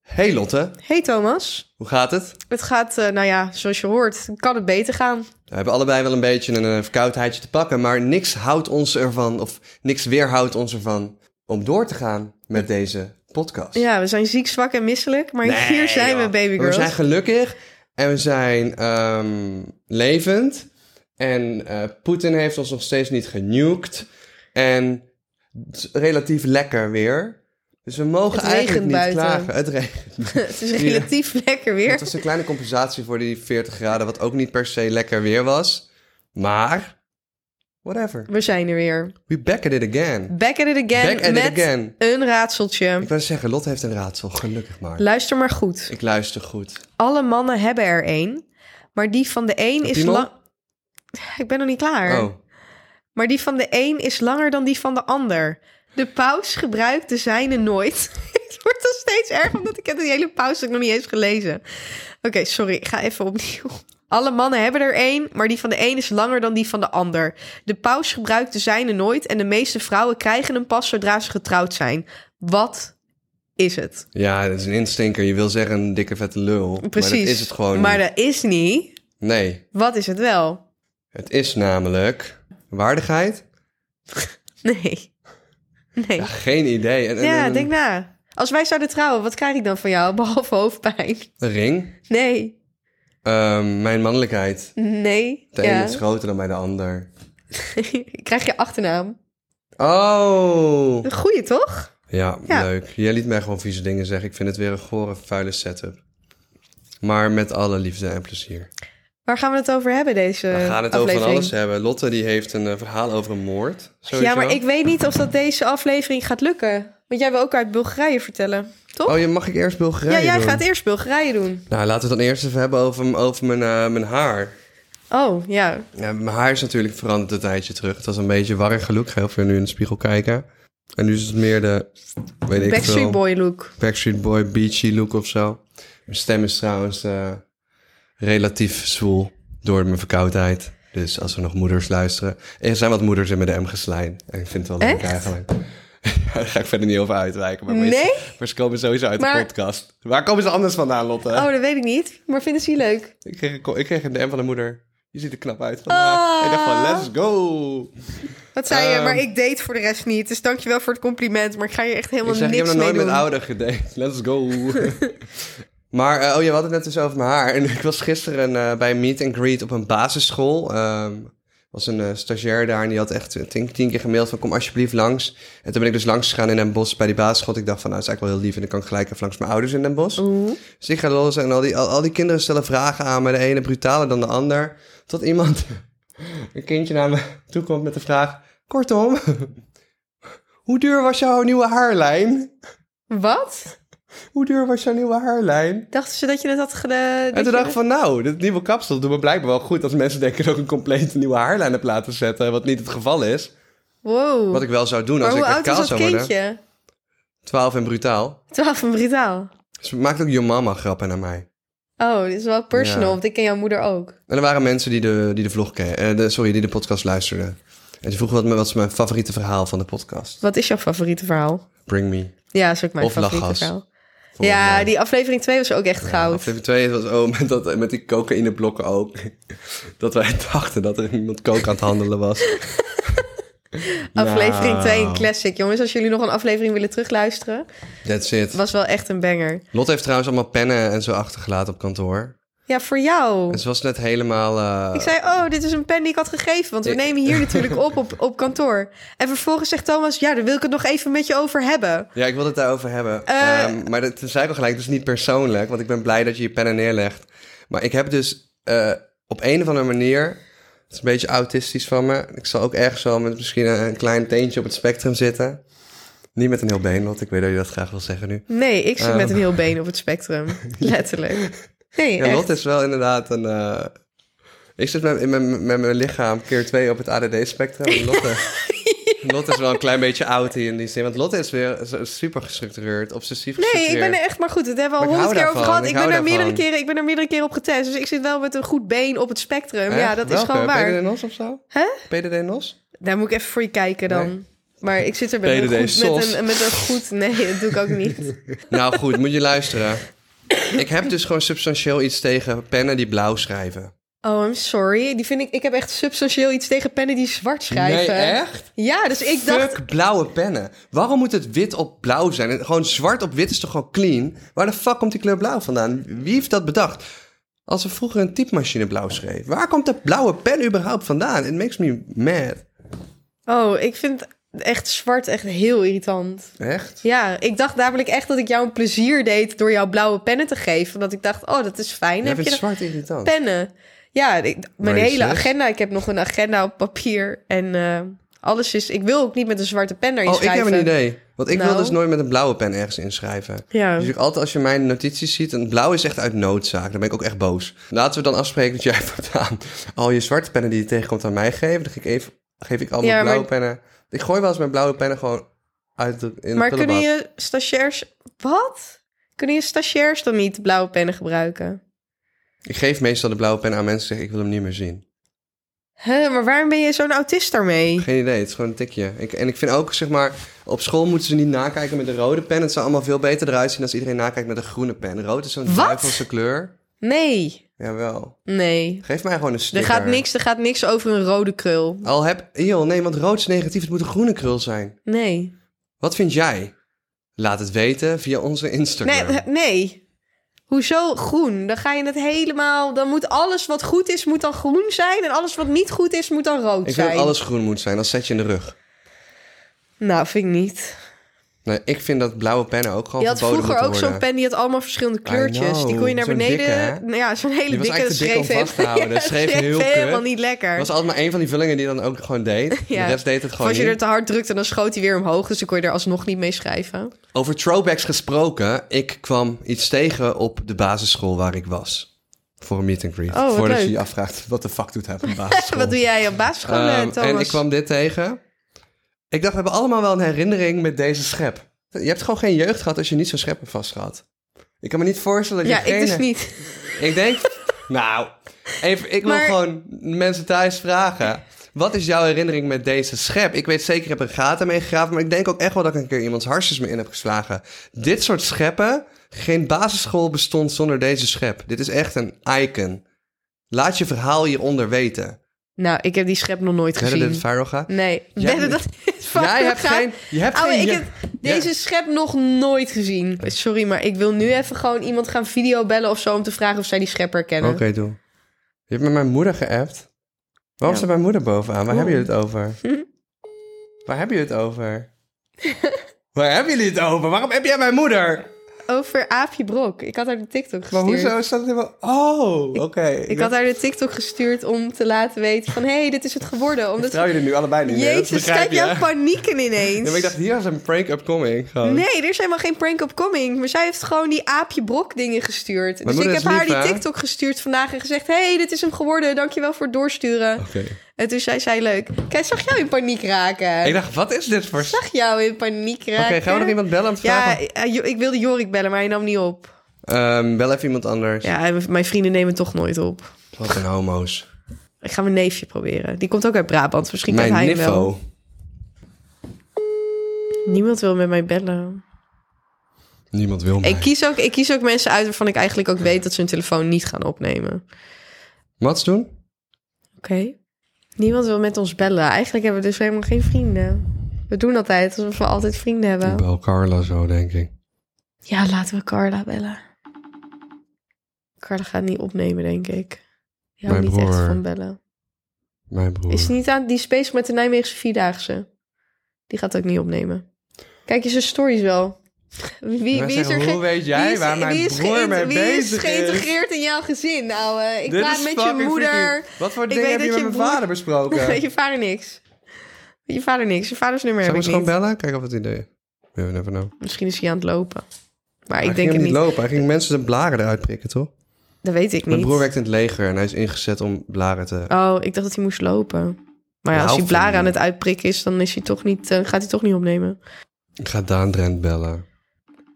Hey Lotte, Hey Thomas, hoe gaat het? het gaat, eh, nou ja, zoals je hoort, kan het beter gaan. We hebben allebei wel een beetje een eh, verkoudheidje te pakken, maar niks houdt ons ervan, of niks weerhoudt ons ervan, om door te gaan met deze podcast. Ja, we zijn ziek, zwak en misselijk, maar Nee, hier zijn joh. we, baby We girls. zijn gelukkig en we zijn ehm, levend. En eh, Poetin heeft ons nog steeds niet genuked. En het is relatief lekker weer. Dus we mogen Het eigenlijk niet regent buiten. klagen. Het regent. Het is relatief lekker weer. Het was een kleine compensatie voor die 40 graden, wat ook niet per se lekker weer was. Maar, whatever. We zijn er weer. We back at it again. Back at it again Back at it met again. een raadseltje. Ik wou zeggen, Lot heeft een raadsel, gelukkig maar. Luister maar goed. Ik luister goed. Alle mannen hebben er één, maar die van de één is piemel? lang... Ik ben nog niet klaar. Oh, Maar die van de één is langer dan die van de ander. De paus gebruikt de zijne nooit. het wordt al steeds erg, omdat ik heb die hele paus ook nog niet eens gelezen. Oké, sorry, ik ga even opnieuw. Alle mannen hebben er één, maar die van de één is langer dan die van de ander. De paus gebruikt de zijne nooit en de meeste vrouwen krijgen hem pas zodra ze getrouwd zijn. Wat is het? ja, dat is een instinker. Je wil zeggen een dikke vette lul. Precies. Maar dat is het gewoon Maar niet. dat is niet. Nee, Wat is het wel? het is namelijk waardigheid. Nee. Nee. Ja, geen idee. En, en- Ja, en- denk na. Als wij zouden trouwen, wat krijg ik dan van jou? Behalve hoofdpijn. Een ring. Nee. Ehm, mijn mannelijkheid. Nee. De ja. een is groter dan bij de ander. krijg je achternaam. Oh! Goeie, toch? Ja, Ja. leuk. Jij liet mij gewoon vieze dingen zeggen. Ik vind het weer een gore, vuile setup. Maar met alle liefde en plezier. Waar gaan we het over hebben, deze We gaan het over Eh, aflevering? van alles hebben. Lotte die heeft een eh, verhaal over een moord. Sowieso. Ja, maar ik weet niet of dat deze aflevering gaat lukken. Want jij wil ook uit Bulgarije vertellen, toch? Oh, je mag ik eerst Bulgarije ja, jij doen? gaat eerst Bulgarije doen. Nou, laten we het dan eerst even hebben over, m- over mijn, eh, mijn haar. Oh, ja. Ja, mijn haar is natuurlijk veranderd een tijdje terug. Het was een beetje warrig gelukkig. Heel veel nu in de spiegel kijken. En nu is het meer de, weet ik Backstreet veel, Boy look. Backstreet Boy beachy look of zo. Mijn stem is trouwens eh, relatief zwoel door mijn verkoudheid. Dus als er nog moeders luisteren. Er zijn wat moeders in mijn DM geslijn. En ik vind het wel leuk Echt? eigenlijk. Ja, Daar ga ik verder niet over uitwijken. Maar, Nee? meestal- maar ze komen sowieso uit de Maar- podcast. Waar komen ze anders vandaan, Lotte? Oh, dat weet ik niet. Maar vinden ze die leuk? Ik, kreeg, een ko- ik kreeg een DM van de moeder. Je ziet er knap uit vandaag. Ah. Ik dacht van, let's go. Wat zei je? Ehm. Maar ik date voor de rest niet. Dus dankjewel voor het compliment. Maar ik ga je echt helemaal Ik zeg, ik heb niks nog mee nooit doen. met ouder gedate. Let's go. maar, eh, oh ja, we hadden het net dus over mijn haar. En ik was gisteren eh, bij een meet and greet op een basisschool. Ehm, Er was een eh, stagiair daar en die had echt eh, tien, tien keer gemaild van kom alsjeblieft langs. En toen ben ik dus langs gegaan in Den Bosch bij die basisschool. Ik dacht van nou, dat is eigenlijk wel heel lief en dan kan ik gelijk even langs mijn ouders in Den Bosch. Oeh. Dus ik ga los en al die, al, al die kinderen stellen vragen aan me. De ene brutaler dan de ander. Tot iemand, een kindje naar me toe komt met de vraag... Kortom, hoe duur was jouw nieuwe haarlijn? Wat? Hoe duur was jouw nieuwe haarlijn? Dachten ze dat je net had gedaan? En toen dacht ik van, nou, dit nieuwe kapsel doet me blijkbaar wel goed... als mensen denken dat ik een complete nieuwe haarlijn heb laten zetten... wat niet het geval is. Wow. Wat ik wel zou doen maar als ik hoe echt oud kaal was dat zou worden. kindje? 12 en brutaal. 12 en brutaal. Ze maakt ook je mama grappen naar mij. Oh, dit is wel personal, Ja. want ik ken jouw moeder ook. En er waren mensen die de, die de vlog ken- eh, de, sorry, die de podcast luisterden. En die vroegen wat, me- wat is mijn favoriete verhaal van de podcast. Wat is jouw favoriete verhaal? Bring me. Ja, is ook mijn Of favoriete lachgas. verhaal. Volgens ja, mij. die aflevering 2 was ook echt goud. Aflevering 2 was oh, met, dat, met die cocaïneblokken ook. dat wij dachten dat er iemand coke aan het handelen was. Aflevering 2, een Nou, classic. Jongens, als jullie nog een aflevering willen terugluisteren, That's it. was wel echt een banger. Lot heeft trouwens allemaal pennen en zo achtergelaten op kantoor. Ja, voor jou. En ze was net helemaal... eh, Ik zei, oh, dit is een pen die ik had gegeven, want we Ik- nemen hier natuurlijk op, op op kantoor. En vervolgens zegt Thomas, ja, daar wil ik het nog even met je over hebben. Ja, ik wil het daarover hebben. Eh. Ehm, maar dat toen zei we gelijk, het is niet persoonlijk, want ik ben blij dat je je pennen neerlegt. Maar ik heb dus eh, op een of andere manier, het is een beetje autistisch van me, ik zal ook ergens wel met misschien een, een klein teentje op het spectrum zitten. Niet met een heel been, want ik weet dat je dat graag wil zeggen nu. Nee, ik zit Ehm. met een heel been op het spectrum. Letterlijk. Nee, Ja, echt. Lot is wel inderdaad een... eh, ik zit met, met, met mijn lichaam keer twee op het ADD-spectrum. en Lotte, Lotte is wel een klein beetje outie in die zin. Want Lotte is weer zo super gestructureerd, obsessief Nee, gestructureerd. ik ben er echt maar goed. Het hebben we al Maar ik honderd keer hou over daarvan, gehad. ik Ik, hou ben er meerdere daarvan. keren, ik ben er meerdere keren op getest. Dus ik zit wel met een goed been op het spectrum. Ja, Echt? dat is Welke? gewoon waar. PDD Nos of zo? Hè? PDD Nos? Daar moet ik even voor je kijken dan. Nee. Maar ik zit er met, een PDD goed, met, sos. een, met een goed... Nee, dat doe ik ook niet. Nou goed, moet je luisteren. Ik heb dus gewoon substantieel iets tegen pennen die blauw schrijven. Oh, I'm sorry. Die vind ik... Ik heb echt substantieel iets tegen pennen die zwart schrijven. Nee, echt? Ja, dus ik dacht... Fuck blauwe pennen. Waarom moet het wit op blauw zijn? En gewoon zwart op wit is toch gewoon clean? Waar de fuck komt die kleur blauw vandaan? Wie heeft dat bedacht? Als we vroeger een typemachine blauw schreef. Waar komt dat blauwe pen überhaupt vandaan? It makes me mad. Oh, ik vind echt zwart echt heel irritant. Echt? Ja, ik dacht namelijk echt dat ik jou een plezier deed door jou blauwe pennen te geven. Want ik dacht, oh, dat is fijn. Jij Heb je vindt nog zwart irritant. pennen? Ja, ik- mijn Racist. hele agenda. Ik heb nog een agenda op papier. En eh, alles is... Ik wil ook niet met een zwarte pen daarin Oh, ik schrijven. heb een idee. Want ik wil Nou. dus nooit met een blauwe pen ergens inschrijven. Ja. Dus ik altijd als je mijn notities ziet, en blauw is echt uit noodzaak. Dan ben ik ook echt boos. Laten we dan afspreken dat jij voortaan al je zwarte pennen die je tegenkomt aan mij geeft. Dan geef ik, even, geef ik al mijn Ja, maar- blauwe pennen. Ik gooi wel eens mijn blauwe pennen gewoon uit de, in Maar de kunnen prullenbak. je stagiairs... Wat? Kunnen je stagiairs dan niet blauwe pennen gebruiken? Ik geef meestal de blauwe pen aan mensen die zeggen, ik wil hem niet meer zien. Huh, maar waarom ben je zo'n autist daarmee? Geen idee, het is gewoon een tikje. Ik, en ik vind ook, zeg maar, op school moeten ze niet nakijken met de rode pen. Het zou allemaal veel beter eruit zien als iedereen nakijkt met een groene pen. Rood is zo'n Wat? duivelse kleur. Nee, Jawel. nee. Geef mij gewoon een Er sticker. gaat, niks, er gaat niks over een rode krul. Al heb... Joh, nee, want rood is negatief. Het moet een groene krul zijn. Nee. Wat vind jij? Laat het weten via onze Instagram. Nee, eh, nee. Hoezo groen? Dan ga je het helemaal... Dan moet alles wat goed is, moet dan groen zijn. En alles wat niet goed is, moet dan rood ik vind zijn. dat alles groen moet zijn. Dat zet je in de rug. Nou, vind ik niet. Nee, ik vind dat blauwe pennen ook gewoon Je had verboden vroeger ook moeten zo'n worden. pen, die had allemaal verschillende kleurtjes. Die kon je naar zo'n dikke, beneden... hè? nou ja, zo'n hele Die was dikke. echt te dik om schreef vast te houden. Dat schreef heel kut. helemaal niet lekker. Het was altijd maar één van die vullingen die dan ook gewoon deed. Ja. De rest deed het Of gewoon als je niet. er te hard drukte, dan schoot hij weer omhoog. Dus dan kon je er alsnog niet mee schrijven. Over throwbacks gesproken. Ik kwam iets tegen op de basisschool waar ik was. Voor een meet and greet. Oh, wat Voordat leuk. je je afvraagt, wat de fuck doet hij op een basisschool? Wat doe jij op basisschool, eh, Ehm, Thomas? en ik kwam dit tegen. Ik dacht, we hebben allemaal wel een herinnering met deze schep. Je hebt gewoon geen jeugd gehad als je niet zo'n schep hebt vastgehad. Ik kan me niet voorstellen dat ja, je geen... ik dus niet. Ik denk, nou, even, ik wil Maar- gewoon mensen thuis vragen. Wat is jouw herinnering met deze schep? Ik weet zeker, ik heb er gaten mee gegraven. Maar ik denk ook echt wel dat ik een keer iemands harsjes me in heb geslagen. Dit soort scheppen, geen basisschool bestond zonder deze schep. Dit is echt een icon. Laat je verhaal hieronder weten. Nou, ik heb die schep nog nooit Verder dit gezien. viral gaat. Nee, Jij- wedden dat is Jij hebt vaak- geen. Je hebt Ouwe, geen. ik je- heb deze schep nog nooit gezien. Sorry, maar ik wil nu even gewoon iemand gaan videobellen of zo... om te vragen of zij die schep Oké, herkennen. doe. Je hebt met mijn moeder geappt. Waarom Ja. staat mijn moeder bovenaan? Waar Oh. hebben jullie het over? Waar hebben jullie het over? Waar hebben jullie het over? Waarom heb jij mijn moeder? Over Aapje Brok. Ik had haar de TikTok Maar gestuurd. hoezo staat het helemaal... Oh, oké. Ik had haar de TikTok gestuurd om te laten weten van... hé, hey, dit is het geworden. Omdat... Trouw je er nu allebei niet meer? dat Jezus, begrijp kijk je, hè? jouw panieken ineens. Ja, maar ik dacht, hier is een prank upcoming. Gewoon. Nee, er is helemaal geen prank op coming. Maar zij heeft gewoon die aapje brok dingen gestuurd. dus ik moeder heb is lief, haar die hè? TikTok gestuurd vandaag en gezegd... hey, dit is hem geworden, dankjewel voor het doorsturen. Oké. En toen zei zij leuk. Kijk, zag jou in paniek raken. Ik dacht, wat is dit voor... s- Oké, Zag jou in paniek raken. gaan we nog iemand bellen om te Ja, vragen? eh, Jo- ik wilde Jorik bellen, maar hij nam niet op. Ehm, bel even iemand anders. Ja, en mijn vrienden nemen toch nooit op. Wat een homo's. Ik ga mijn neefje proberen. Die komt ook uit Brabant. dus Misschien kan Mijn hij hem wel. niffo. Niemand wil met mij bellen. Niemand wil mij. Ik kies, ook, ik kies ook mensen uit waarvan ik eigenlijk ook weet dat ze hun telefoon niet gaan opnemen. Mats doen? Oké. Niemand wil met ons bellen. Eigenlijk hebben we dus helemaal geen vrienden. We doen altijd alsof we altijd vrienden hebben. Bel Carla zo, denk ik. Ja, laten we Carla bellen. Carla gaat niet opnemen, denk ik. Ja, Mijn niet echt broer. van bellen. Mijn broer. Is die niet aan die space met de Nijmeegse Vierdaagse? Die gaat ook niet opnemen. Kijk je zijn stories wel. Wie, wie Wij is er zeggen, ge- hoe weet jij wie is- waar wie mijn is broer geïnt- mee Wie is bezig is? geïntegreerd in jouw gezin, ouwe? Ik Dit praat is met je fucking moeder. freaky. Wat voor Ik dingen weet heb je dat met je mijn broer- vader besproken? je vader niks. Je vader niks. Je vaders nummer Zullen heb we ik eens gewoon bellen? niet. Kijken of het idee is. You never know. Misschien is hij aan het lopen. Maar Hij ik denk ging het hem niet. niet lopen. Hij ging mensen zijn blaren eruit prikken, toch? Dat weet ik Mijn niet. broer werkt in het leger en hij is ingezet om blaren te... Oh, ik dacht dat hij moest lopen. Maar ja, als Nou, hij blaren vrienden. aan het uitprikken is, dan is hij toch niet, eh, gaat hij toch niet opnemen. Ik ga Daan Drent bellen.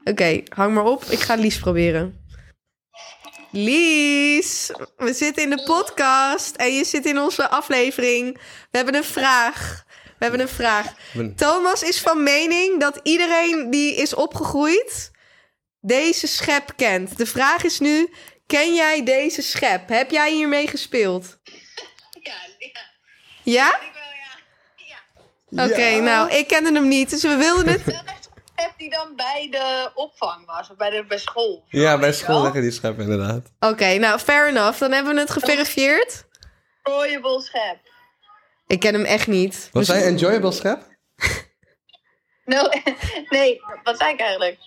Oké, hang maar op. Ik ga Lies proberen. Lies, we zitten in de podcast en je zit in onze aflevering. We hebben een vraag. We hebben een vraag. ben- Thomas is van mening dat iedereen die is opgegroeid deze schep kent. De vraag is nu: ken jij deze schep? Heb jij hiermee gespeeld? Ja, ja. Ja? Ik wel, ja. Ja. Oké, nou, ik kende hem niet, dus we wilden het. Wel echt een schep die dan bij de opvang was, of bij, de, bij school. Ja, bij school Ja. leggen die schep inderdaad. Oké, nou, fair enough. Dan hebben we het geverifieerd. Enjoyable schep. Ik ken hem echt niet. Was Dus- zij enjoyable schep? No, nee, wat zei ik eigenlijk?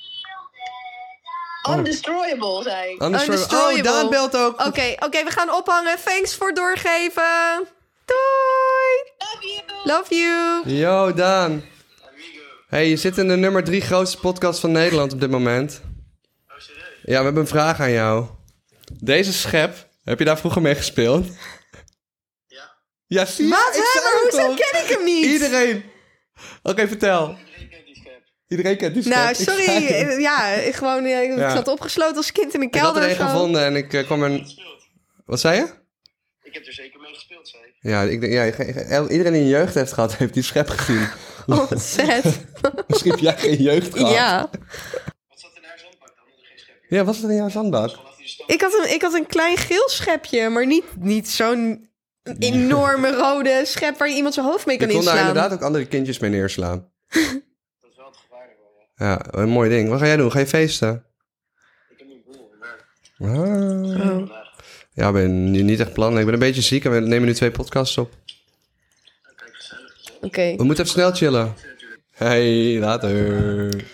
Undestroyable, zei ik. Anders Undestroyable. Oh, Daan belt ook. Oké, oké, we gaan ophangen. Thanks voor doorgeven. Doei! Love you! Love you! Yo, Daan. Hey, je zit in de nummer drie grootste podcast van Nederland op dit moment. Oh, Ja, we hebben een vraag aan jou. Deze schep, heb je daar vroeger mee gespeeld? Ja. Ja, zie je? Wat? Ik Hè? zei Maar het hoezo al. ken ik hem niet? Iedereen. Oké, vertel. Iedereen kent die schep. Nou, Ik sorry. zei het. eh, Ja, ik, gewoon, eh, ik Ja. zat opgesloten als kind in een Ik had kelder. er een of zo. gevonden en ik eh, kwam er... Wat zei je? Ik heb er zeker mee gespeeld, zei ik. Ja, ik, denk- ja, ik- iedereen die een jeugd heeft gehad, heeft die schep gezien. Ontzettend. Misschien heb jij geen jeugd gehad. Ja. Wat zat in haar zandbak dan? Dat er geen schepje. Ja, was het in jouw zandbak? Vanaf die stand. Ik had, een, ik had een klein geel schepje, maar niet, niet zo'n enorme rode schep waar je iemand zijn hoofd mee Je kan kon daar inslaan. inderdaad ook andere kindjes mee neerslaan. Dat is wel het gevaarlijk wel, ja. Ja, een mooi ding. Wat ga jij doen? Ga je feesten? Ik heb nu een boel, maar Ah. Oh. vandaag. Ja, ik ben nu niet echt plan. Ik ben een beetje ziek en we nemen nu twee podcasts op. Kijk, gezellig. Oké. We moeten even snel chillen. Hey, later.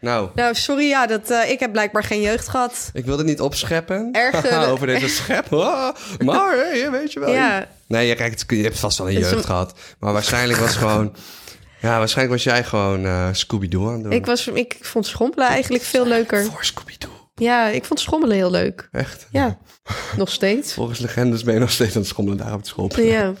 Nou, Nou, sorry, ja, dat, eh, ik heb blijkbaar geen jeugd gehad. ik wilde niet opscheppen. Erg, eh, Over deze schep. Ah, Maar, hey, weet je wel. Ja. Nee, ja, kijk, het- je hebt vast wel een is jeugd een- gehad. Maar waarschijnlijk was gewoon... Ja, waarschijnlijk was jij gewoon eh, Scooby-Doo aan het doen. Ik, was, ik vond schommelen eigenlijk veel leuker. Voor Scooby-Doo. Ja, ik vond schommelen heel leuk. Echt. Ja, nog steeds. Volgens legendes ben je nog steeds aan het schommelen daar op het school. Ja.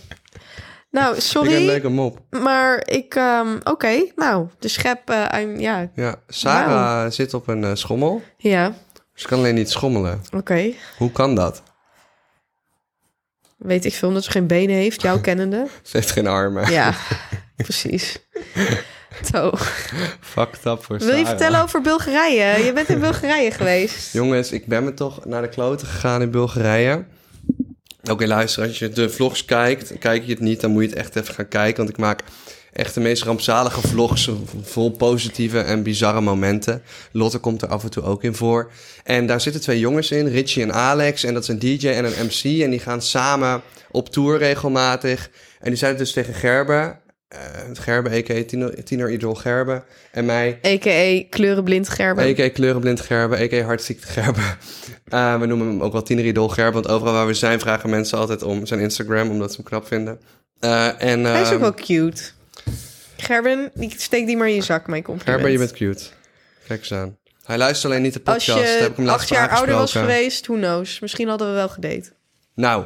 Nou, Ik sorry. ben een leuke mop. Maar ik, ehm, oké, nou, de schep, eh, I'm- ja, Ja, Sarah zit op een eh, schommel. ja, Ze kan alleen niet schommelen. oké. Hoe kan dat? Weet ik veel, omdat ze geen benen heeft, jouw kennende. Ze heeft geen armen. Ja, precies. Zo. Fucked up voor Wil je Sarah. vertellen over Bulgarije? Je bent in Bulgarije geweest. Jongens, ik ben me toch naar de kloten gegaan in Bulgarije. Oké, luister, als je de vlogs kijkt, kijk je het niet, dan moet je het echt even gaan kijken. Want ik maak echt de meest rampzalige vlogs, vol positieve en bizarre momenten. Lotte komt er af en toe ook in voor. En daar zitten twee jongens in, Richie en Alex. En dat is een DJ en een MC. En die gaan samen op tour regelmatig. En die zijn het dus tegen Gerben. eh, Gerben, a.k.a. Tiener, tiener Idol Gerben. En mij. A.k.a. kleurenblind Gerben. A.k.a. kleurenblind Gerben, a.k.a. hartziekte Gerben. Eh, we noemen hem ook wel tieneridol Gerben, want overal waar we zijn vragen mensen altijd om zijn Instagram, omdat ze hem knap vinden. Eh, en, Hij is ook ehm, wel cute. Gerben, die, steek die maar in je zak, mijn compliment. Gerben, je bent cute. Kijk eens aan. Hij luistert alleen niet de Als podcast, daar heb je ik hem acht laatst jaar ouder was aangesproken. geweest, who knows. Misschien hadden we wel gedate. Nou,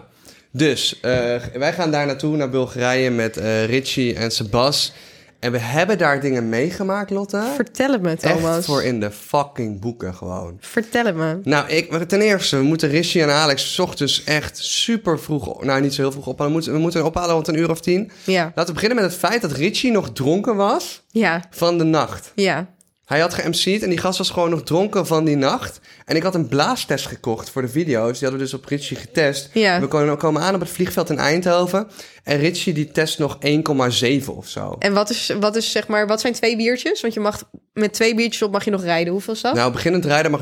dus eh, wij gaan daar naartoe, naar Bulgarije met eh, Richie en Sebas. En we hebben daar dingen meegemaakt, Lotte. Vertel het me, Thomas. Echt voor in de fucking boeken gewoon. Vertel het me. Nou, ik, ten eerste, we moeten Rishi en Alex 's ochtends echt super vroeg... op- Nou, niet zo heel vroeg ophalen. We moeten, we moeten ophalen rond een uur of tien. Ja, Laten we beginnen met het feit dat Richie nog dronken was ja, van de nacht. ja. Hij had ge-MC'd en die gast was gewoon nog dronken van die nacht. En ik had een blaastest gekocht voor de video's. Die hadden we dus op Richie getest. Ja. We komen, komen aan op het vliegveld in Eindhoven. En Richie die test nog 1,7 of zo. En wat, is, wat, is, zeg maar, wat zijn twee biertjes? Want je mag met twee biertjes op mag je nog rijden. Hoeveel is dat? Nou, beginnend rijden mag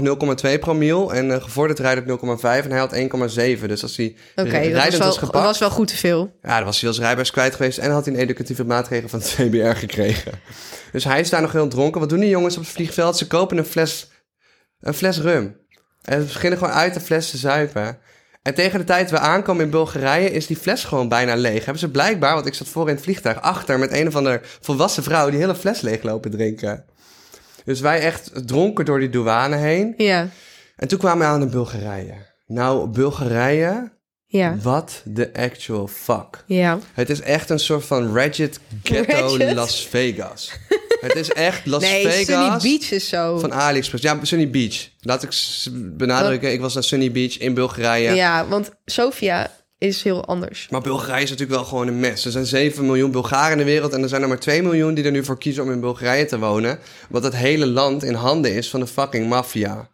0,2 promiel en eh, gevorderd rijden op 0,5 en hij had 1,7. Dus als hij Oké, rijdend dat was wel, was gepakt... was wel goed te veel. Ja, dan was hij als rijbewijs kwijt geweest en had hij een educatieve maatregel van het CBR gekregen. Dus hij is daar nog heel dronken. Wat doen die jongens op het vliegveld? Ze kopen een fles, een fles rum. En ze beginnen gewoon uit de fles te zuipen. En tegen de tijd we aankomen in Bulgarije is die fles gewoon bijna leeg. Hebben ze blijkbaar, want ik zat voor in het vliegtuig, achter met een of andere volwassen vrouw die hele fles leeg lopen drinken. Dus wij echt dronken door die douane heen. Ja, En toen kwamen we aan in Bulgarije. Nou, Bulgarije, ja, what the actual fuck. ja. Het is echt een soort van Ratchet Ghetto Ratchet? Las Vegas. het is echt Las nee, Sunny Vegas Beach is zo. van AliExpress. Ja, Sunny Oh. Beach. Laat ik s- benadrukken, ik was naar Sunny Beach in Bulgarije. ja. want Sofia is heel anders. Maar Bulgarije is natuurlijk wel gewoon een mes. Er zijn 7 miljoen Bulgaren in de wereld en er zijn er maar 2 miljoen die er nu voor kiezen om in Bulgarije te wonen. Omdat het hele land in handen is van de fucking maffia.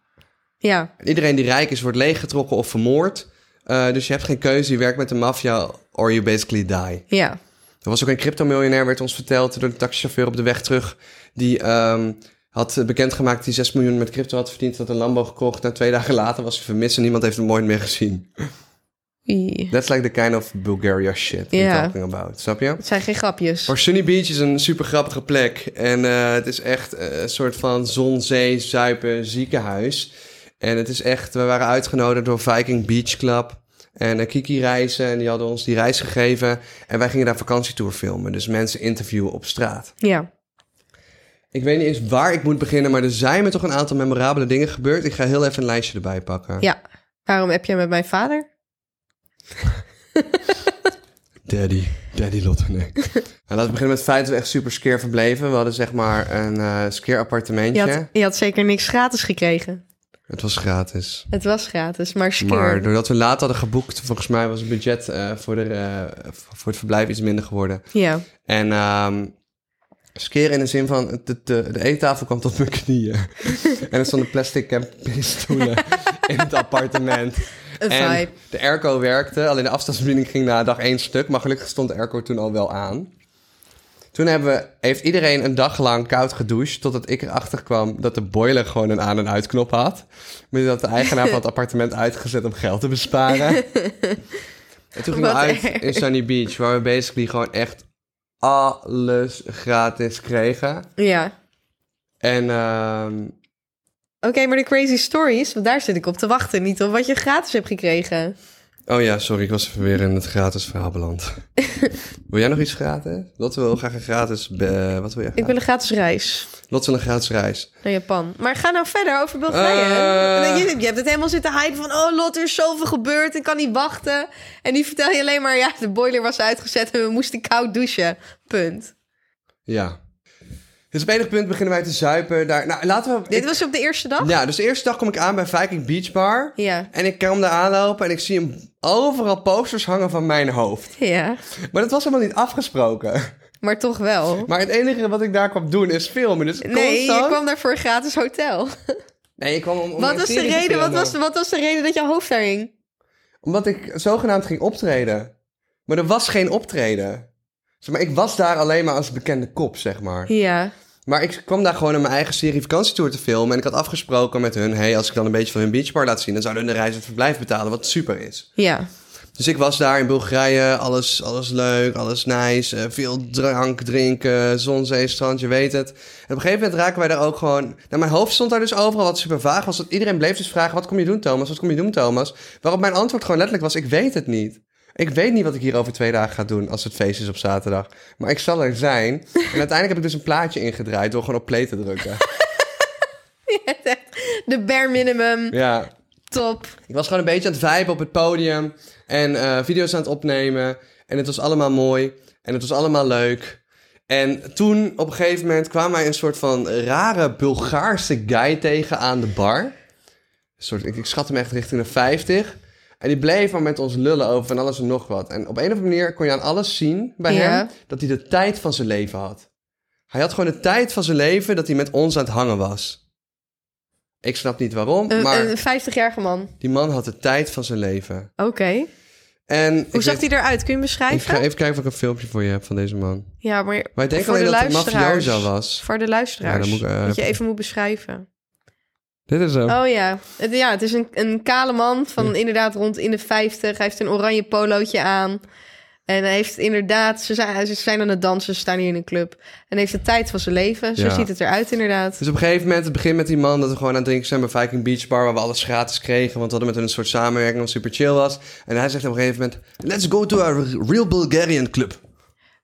Ja, Iedereen die rijk is wordt leeggetrokken of vermoord. Eh, dus je hebt geen keuze, je werkt met de maffia or you basically die. ja. Er was ook een cryptomiljonair, werd ons verteld door de taxichauffeur op de weg terug. Die ehm, had bekendgemaakt dat hij 6 miljoen met crypto had verdiend. Had een Lambo gekocht. Na twee dagen later was hij vermist en niemand heeft hem nooit meer gezien. Ie. That's like the kind of Bulgaria shit we're Ja. talking about. Snap je? Het zijn geen grapjes. Maar Sunny Beach is een super grappige plek. En eh, het is echt eh, een soort van zon, zee, zuipen, ziekenhuis. En het is echt, we waren uitgenodigd door Viking Beach Club en eh, Kiki Reizen. En die hadden ons die reis gegeven. En wij gingen daar vakantietour filmen. Dus mensen interviewen op straat. Ja. Ik weet niet eens waar ik moet beginnen, maar er zijn me toch een aantal memorabele dingen gebeurd. Ik ga heel even een lijstje erbij pakken. Ja. Waarom heb jij met mijn vader? Daddy. Daddy Lotte, nee. nou, laten we beginnen met het feit dat we echt super skeer verbleven. We hadden zeg maar een eh skeer Je appartementje. had, je had zeker niks gratis gekregen. Het was gratis. Het was gratis, maar skeer. Maar doordat we laat hadden geboekt, volgens mij was het budget eh, voor, de, eh, voor het verblijf iets minder geworden. Ja. En ehm skeer in de zin van, de, de, de eettafel kwam tot mijn knieën. en er stonden plastic campingstoelen in het appartement. Een en vibe. de airco werkte, alleen de afstandsbediening ging na dag één stuk. Maar gelukkig stond de airco toen al wel aan. Toen hebben we, heeft iedereen een dag lang koud gedoucht, totdat ik erachter kwam dat de boiler gewoon een aan- en uitknop had. Maar dat de eigenaar van het appartement uitgezet om geld te besparen. En toen gingen we Wat uit erg. in Sunny Beach, waar we basically gewoon echt alles gratis kregen. Ja. En ehm, Oké, maar de crazy stories, want daar zit ik op te wachten. Niet op wat je gratis hebt gekregen. Oh ja, sorry, ik was even weer in het gratis verhaal beland. wil jij nog iets gratis? Lotte wil graag een gratis... be- wat wil jij Ik wil een gratis reis Lotte wil een gratis reis. naar Japan. Maar ga nou verder over Bulgarije. Eh. Je, je hebt het helemaal zitten hypen van... oh, Lot, er is zoveel gebeurd, ik kan niet wachten. En die vertel je alleen maar... ja, de boiler was uitgezet en we moesten koud douchen. Punt. Ja. Dus op enig punt beginnen wij te zuipen. Daar, nou, laten we... Dit was op de eerste dag? Ja, dus de eerste dag kom ik aan bij Viking Beach Bar. Ja. En ik kwam daar aanlopen en ik zie hem overal posters hangen van mijn hoofd. Ja, Maar dat was helemaal niet afgesproken. maar toch wel. Maar het enige wat ik daar kwam doen is filmen. Dus Nee, je constant- kwam daar voor een gratis Oh, hotel. Nee, ik kwam om, om Wat een was, de serie te reden, wat, filmen. was, wat was de reden dat je hoofd daar hing? Omdat ik zogenaamd ging optreden. Maar er was geen optreden. Zeg maar, ik was daar alleen maar als bekende kop, zeg maar. Ja, Maar ik kwam daar gewoon aan mijn eigen serie vakantietour te filmen. En ik had afgesproken met hun... hey, als ik dan een beetje van hun beachbar laat zien... dan zouden hun de reis en het verblijf betalen, wat super is. ja. Dus ik was daar in Bulgarije. Alles, alles leuk, alles nice. eh, veel drank drinken, zon, zee, strand, je weet het. En op een gegeven moment raken wij daar ook gewoon... Nou, mijn hoofd stond daar dus overal wat super vaag was. Dat iedereen bleef dus vragen, wat kom je doen, Thomas? Wat kom je doen, Thomas? Waarop mijn antwoord gewoon letterlijk was, ik weet het niet. Ik weet niet wat ik hier over twee dagen ga doen als het feest is op zaterdag. Maar ik zal er zijn. En uiteindelijk heb ik dus een plaatje ingedraaid door gewoon op play te drukken. De bare minimum, Ja. top. Ik was gewoon een beetje aan het viben op het podium. En eh, video's aan het opnemen. En het was allemaal mooi. En het was allemaal leuk. En toen op een gegeven moment kwam mij een soort van rare Bulgaarse guy tegen aan de bar. Een soort, ik, ik schat hem echt richting de 50. En die bleef maar met ons lullen over van alles en nog wat. En op een of andere manier kon je aan alles zien bij Ja. hem dat hij de tijd van zijn leven had. Hij had gewoon de tijd van zijn leven dat hij met ons aan het hangen was. Ik snap niet waarom, Een, maar... een 50-jarige man. Die man had de tijd van zijn leven. Oké. En ik Hoe zag weet- hij eruit? Kun je hem Ik ga beschrijven? even kijken of ik een filmpje voor je heb van deze man. Ja, maar Maar ik denk voor alleen de dat het een luisteraars. mafioso was. Voor de Ja, luisteraars. dan moet ik, eh, dat je even moet beschrijven. Dit is hem. Oh ja. Het, ja, het is een, een kale man van Ja. inderdaad rond in de 50. Hij heeft een oranje polootje aan. En hij heeft inderdaad... Ze zijn, ze zijn aan het dansen, ze staan hier in een club. En heeft de tijd van zijn leven. Zo Ja. ziet het eruit inderdaad. Dus op een gegeven moment, het begint met die man dat we gewoon aan het drinken zijn bij Viking Beach Bar, waar we alles gratis kregen, want we hadden met hun een soort samenwerking wat super chill was. En hij zegt op een gegeven moment, let's go to a real Bulgarian club.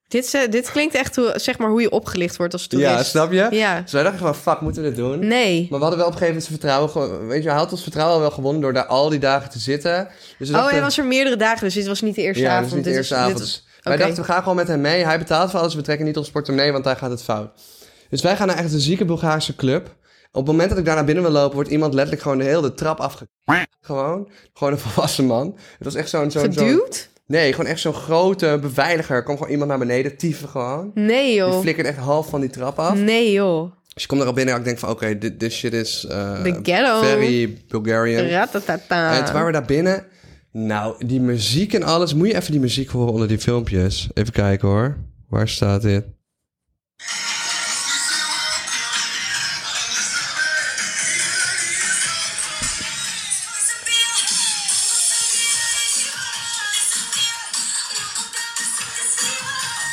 Dit, is, eh, dit klinkt echt hoe, zeg maar, hoe je opgelicht wordt als toerist. Ja, snap je? Ja. Dus wij dachten van, fuck, moeten we dit doen? Nee. Maar we hadden wel op een gegeven moment zijn vertrouwen, gewoon- weet je, hij had ons vertrouwen wel gewonnen door daar al die dagen te zitten. Dus we Oh, dachten- hij was er meerdere dagen, dus dit was niet de eerste ja, avond. dus niet de Dit eerste is- dit avond. is- Wij Oké. dachten, we gaan gewoon met hem mee. Hij betaalt voor alles. We trekken niet ons portemonnee, want hij gaat het fout. Dus wij gaan naar echt een zieke Bulgaarse club. Op het moment dat ik daar naar binnen wil lopen, wordt iemand letterlijk gewoon de hele trap afge... Gewoon. Gewoon een volwassen man. Het was echt zo'n... zo'n zo'n- Geduwd? nee, gewoon echt zo'n grote beveiliger. Er kwam gewoon iemand naar beneden, tieven gewoon. Nee, Die joh. flikkert echt half van die trap af. Nee, joh. Dus je komt erop binnen en ik denk van, oké, dit this shit is... eh, The ghetto. Very Bulgarian. Ratatata. En toen waren we daar binnen. Nou, die muziek en alles. Moet je even die muziek horen onder die filmpjes? Even kijken hoor. Waar staat dit?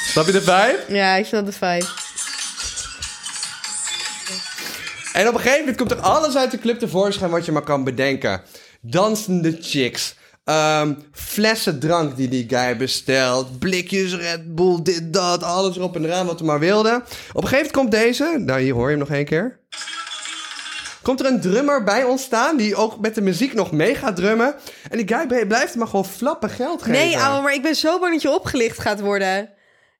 Snap je de vibe? Ja, ik snap de vibe. En op een gegeven moment komt er alles uit de club tevoorschijn wat je maar kan bedenken. Dansende chicks. ehm, flessen drank die die guy bestelt. Blikjes Red Bull, dit, dat. Alles erop en eraan wat we maar wilden. Op een gegeven moment komt deze. Nou, hier hoor je hem nog één keer. Komt er een drummer bij ons staan die ook met de muziek nog mee gaat drummen. En die guy be- blijft maar gewoon flappen geld geven. Nee, ouwe, maar ik ben zo bang dat je opgelicht gaat worden.